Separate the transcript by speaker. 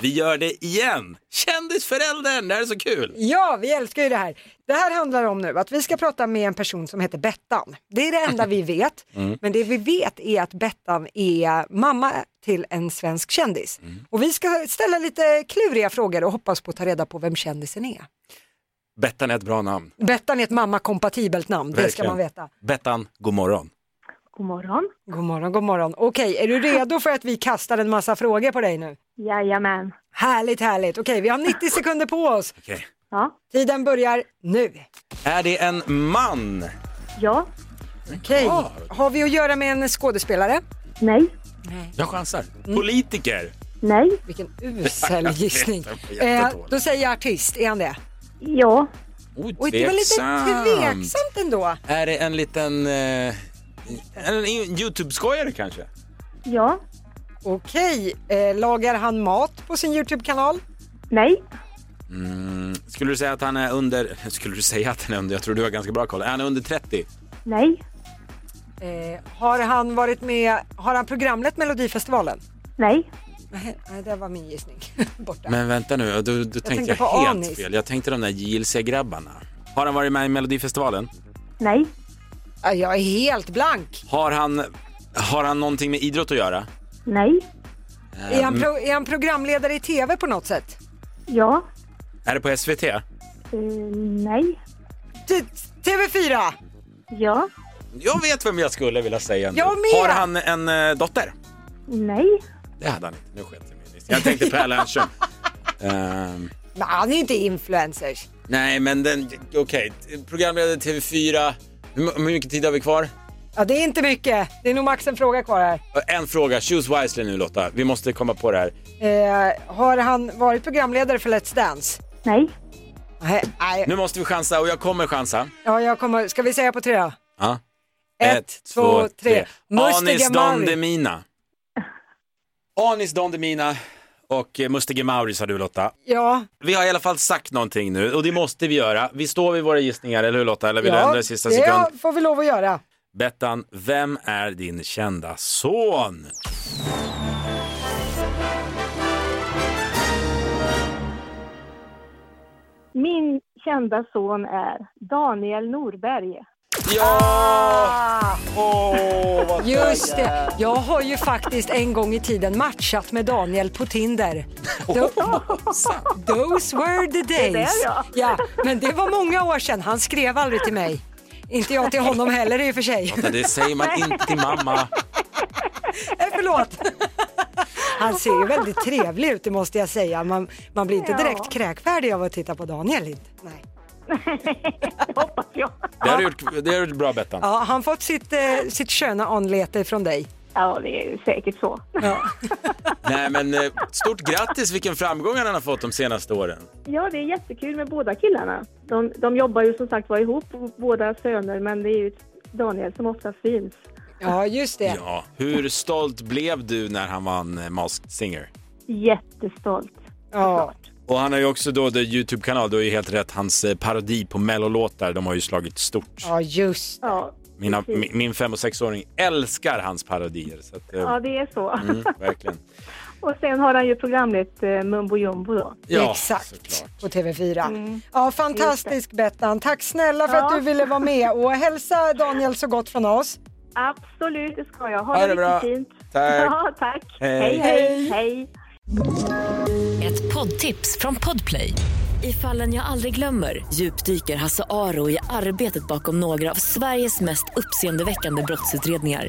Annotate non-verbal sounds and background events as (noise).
Speaker 1: Vi gör det igen! Kändisföräldern, det här är så kul!
Speaker 2: Ja, vi älskar ju det här. Det här handlar om nu att vi ska prata med en person som heter Bettan. Det är det enda vi vet. Men det vi vet är att Bettan är mamma till en svensk kändis. Och vi ska ställa lite kluriga frågor och hoppas på att ta reda på vem kändisen är.
Speaker 1: Bettan är ett bra namn.
Speaker 2: Bettan är ett mammakompatibelt namn, det ska
Speaker 1: Verkligen.
Speaker 2: man veta.
Speaker 1: Bettan, god morgon.
Speaker 3: God morgon.
Speaker 2: God morgon, god morgon. Okej, är du redo för att vi kastar en massa frågor på dig nu?
Speaker 3: Jajamän.
Speaker 2: Härligt, härligt. Okej, vi har 90 sekunder på oss.
Speaker 1: Okej.
Speaker 3: Ja.
Speaker 2: Tiden börjar nu.
Speaker 1: Är det en man?
Speaker 3: Ja.
Speaker 2: Okej, har vi att göra med en skådespelare?
Speaker 3: Nej.
Speaker 1: Jag chansar.
Speaker 2: Mm.
Speaker 1: Politiker?
Speaker 3: Nej.
Speaker 2: Vilken usel gissning.
Speaker 1: den var
Speaker 2: Eh,
Speaker 1: jättedålig.
Speaker 2: då säger jag artist, är han det?
Speaker 3: Ja.
Speaker 1: Oh,
Speaker 2: Oj, det var lite tveksamt ändå.
Speaker 1: Är det en liten... Eh, en Youtube-skojare kanske?
Speaker 3: Ja.
Speaker 2: Okej, eh, lagar han mat på sin YouTube-kanal?
Speaker 3: Nej.
Speaker 1: Mm. Skulle du säga att han är under... (laughs) Skulle du säga att han är under... Jag tror du har ganska bra koll. Är han under 30?
Speaker 3: Nej.
Speaker 2: Eh, har han varit med, har han programlett Melodifestivalen?
Speaker 3: Nej.
Speaker 2: Nej, nej, det var min gissning. (laughs) Borta.
Speaker 1: Men vänta nu, då, då tänkte jag,
Speaker 2: tänkte på
Speaker 1: helt
Speaker 2: Anis.
Speaker 1: fel. Jag tänkte de där JLC-grabbarna. Har han varit med i Melodifestivalen?
Speaker 3: Nej.
Speaker 2: Ah, Jag är helt blank.
Speaker 1: Har han, har han någonting med idrott att göra?
Speaker 3: Nej.
Speaker 2: Är han, pro, är han programledare i TV på något sätt?
Speaker 3: Ja.
Speaker 1: Är det på SVT?
Speaker 3: Eh, nej.
Speaker 2: T- TV4!
Speaker 3: Ja.
Speaker 1: Jag vet vem jag skulle vilja säga nu.
Speaker 2: Jag med!
Speaker 1: Har han en eh, dotter?
Speaker 3: Nej.
Speaker 1: Det hade han inte. Nu sket jag mig i det. Jag tänkte på Erlandström. (laughs) Ehm,
Speaker 2: Men han är inte influencers.
Speaker 1: nej, men den... Okej, programledare TV4. Hur, mu- hur mycket tid har vi kvar?
Speaker 2: Ja, det är inte mycket. Det är nog max en fråga kvar här.
Speaker 1: En fråga. Choose wisely nu, Lotta. Vi måste komma på det här.
Speaker 2: Eh, har han varit programledare för Let's Dance?
Speaker 3: Nej.
Speaker 2: Nej, nej.
Speaker 1: Nu måste vi chansa och jag kommer chansa.
Speaker 2: Ja, jag kommer. Ska vi säga på tre då?
Speaker 1: Ja.
Speaker 2: Ett, två, tre. Musti
Speaker 1: Anis Don
Speaker 2: Gemari.
Speaker 1: Demina. Anis Don Demina och eh, Mustige Mauri sa du Lotta.
Speaker 2: Ja,
Speaker 1: Vi har i alla fall sagt någonting nu och det måste vi göra. Vi står vid våra gissningar, eller hur Lotta? Eller vill du
Speaker 2: ja
Speaker 1: ändra i sista sekund?
Speaker 2: det får vi lov att göra.
Speaker 1: Bettan, vem är din kända son?
Speaker 3: Min kända son är Daniel Norberg. (laughs)
Speaker 1: Ja! Åh, vad
Speaker 2: Just det, jag har ju faktiskt en gång i tiden matchat med Daniel
Speaker 1: (laughs)
Speaker 2: på Tinder. Those were the days.
Speaker 3: ja.
Speaker 2: Ja, men det var många år sedan, han skrev aldrig till mig. Inte jag till honom heller i och för sig.
Speaker 1: Lotta, det säger man inte till mamma.
Speaker 2: Nej, Förlåt. (laughs) Han ser ju väldigt trevlig ut, det måste jag säga. Man, man blir inte direkt kräkfärdig av att titta på Daniel. inte. Nej.
Speaker 3: Hoppas jag.
Speaker 1: Det har du gjort, det har du gjort bra Bettan.
Speaker 2: Ja, han fått sitt, eh, sitt sköna anlete från dig.
Speaker 3: Ja, det är säkert så. (laughs)
Speaker 1: Nej men eh, stort grattis vilken framgång han har fått de senaste åren.
Speaker 3: Ja, det är jättekul med båda killarna. De, de jobbar ju som sagt var ihop, båda söner, men det är ju Daniel som oftast syns.
Speaker 2: Ja, just det.
Speaker 1: Ja, hur stolt blev du när han vann eh, Masked Singer?
Speaker 3: Jättestolt.
Speaker 2: Ja.
Speaker 1: Och han har ju också då det Youtube-kanal, du har ju helt rätt, hans eh, parodi på mellolåtar, de har ju slagit stort.
Speaker 2: ja, just
Speaker 3: Ja,
Speaker 1: Mina,
Speaker 3: precis.
Speaker 1: min, min fem och sexåring älskar hans parodier. Så att, eh,
Speaker 3: ja det är så.
Speaker 1: mm, verkligen.
Speaker 3: (laughs) Och sen har han ju programmet eh, Mumbo Jumbo då.
Speaker 1: Ja,
Speaker 2: Exakt,
Speaker 1: såklart.
Speaker 2: på TV4. Ja, fantastisk Bettan. Tack snälla för
Speaker 3: Ja.
Speaker 2: att du ville vara med och hälsa Daniel så gott från oss.
Speaker 3: Absolut, det ska jag. Ha,
Speaker 1: Ha
Speaker 3: det
Speaker 1: det bra.
Speaker 3: riktigt fint.
Speaker 1: Tack.
Speaker 3: (laughs) Ja, tack.
Speaker 1: Hej.
Speaker 3: Hej, hej. hej.
Speaker 4: Ett poddtips från Podplay. I fallen jag aldrig glömmer djupdyker Hasse Aro i arbetet bakom några av Sveriges mest uppseendeväckande brottsutredningar.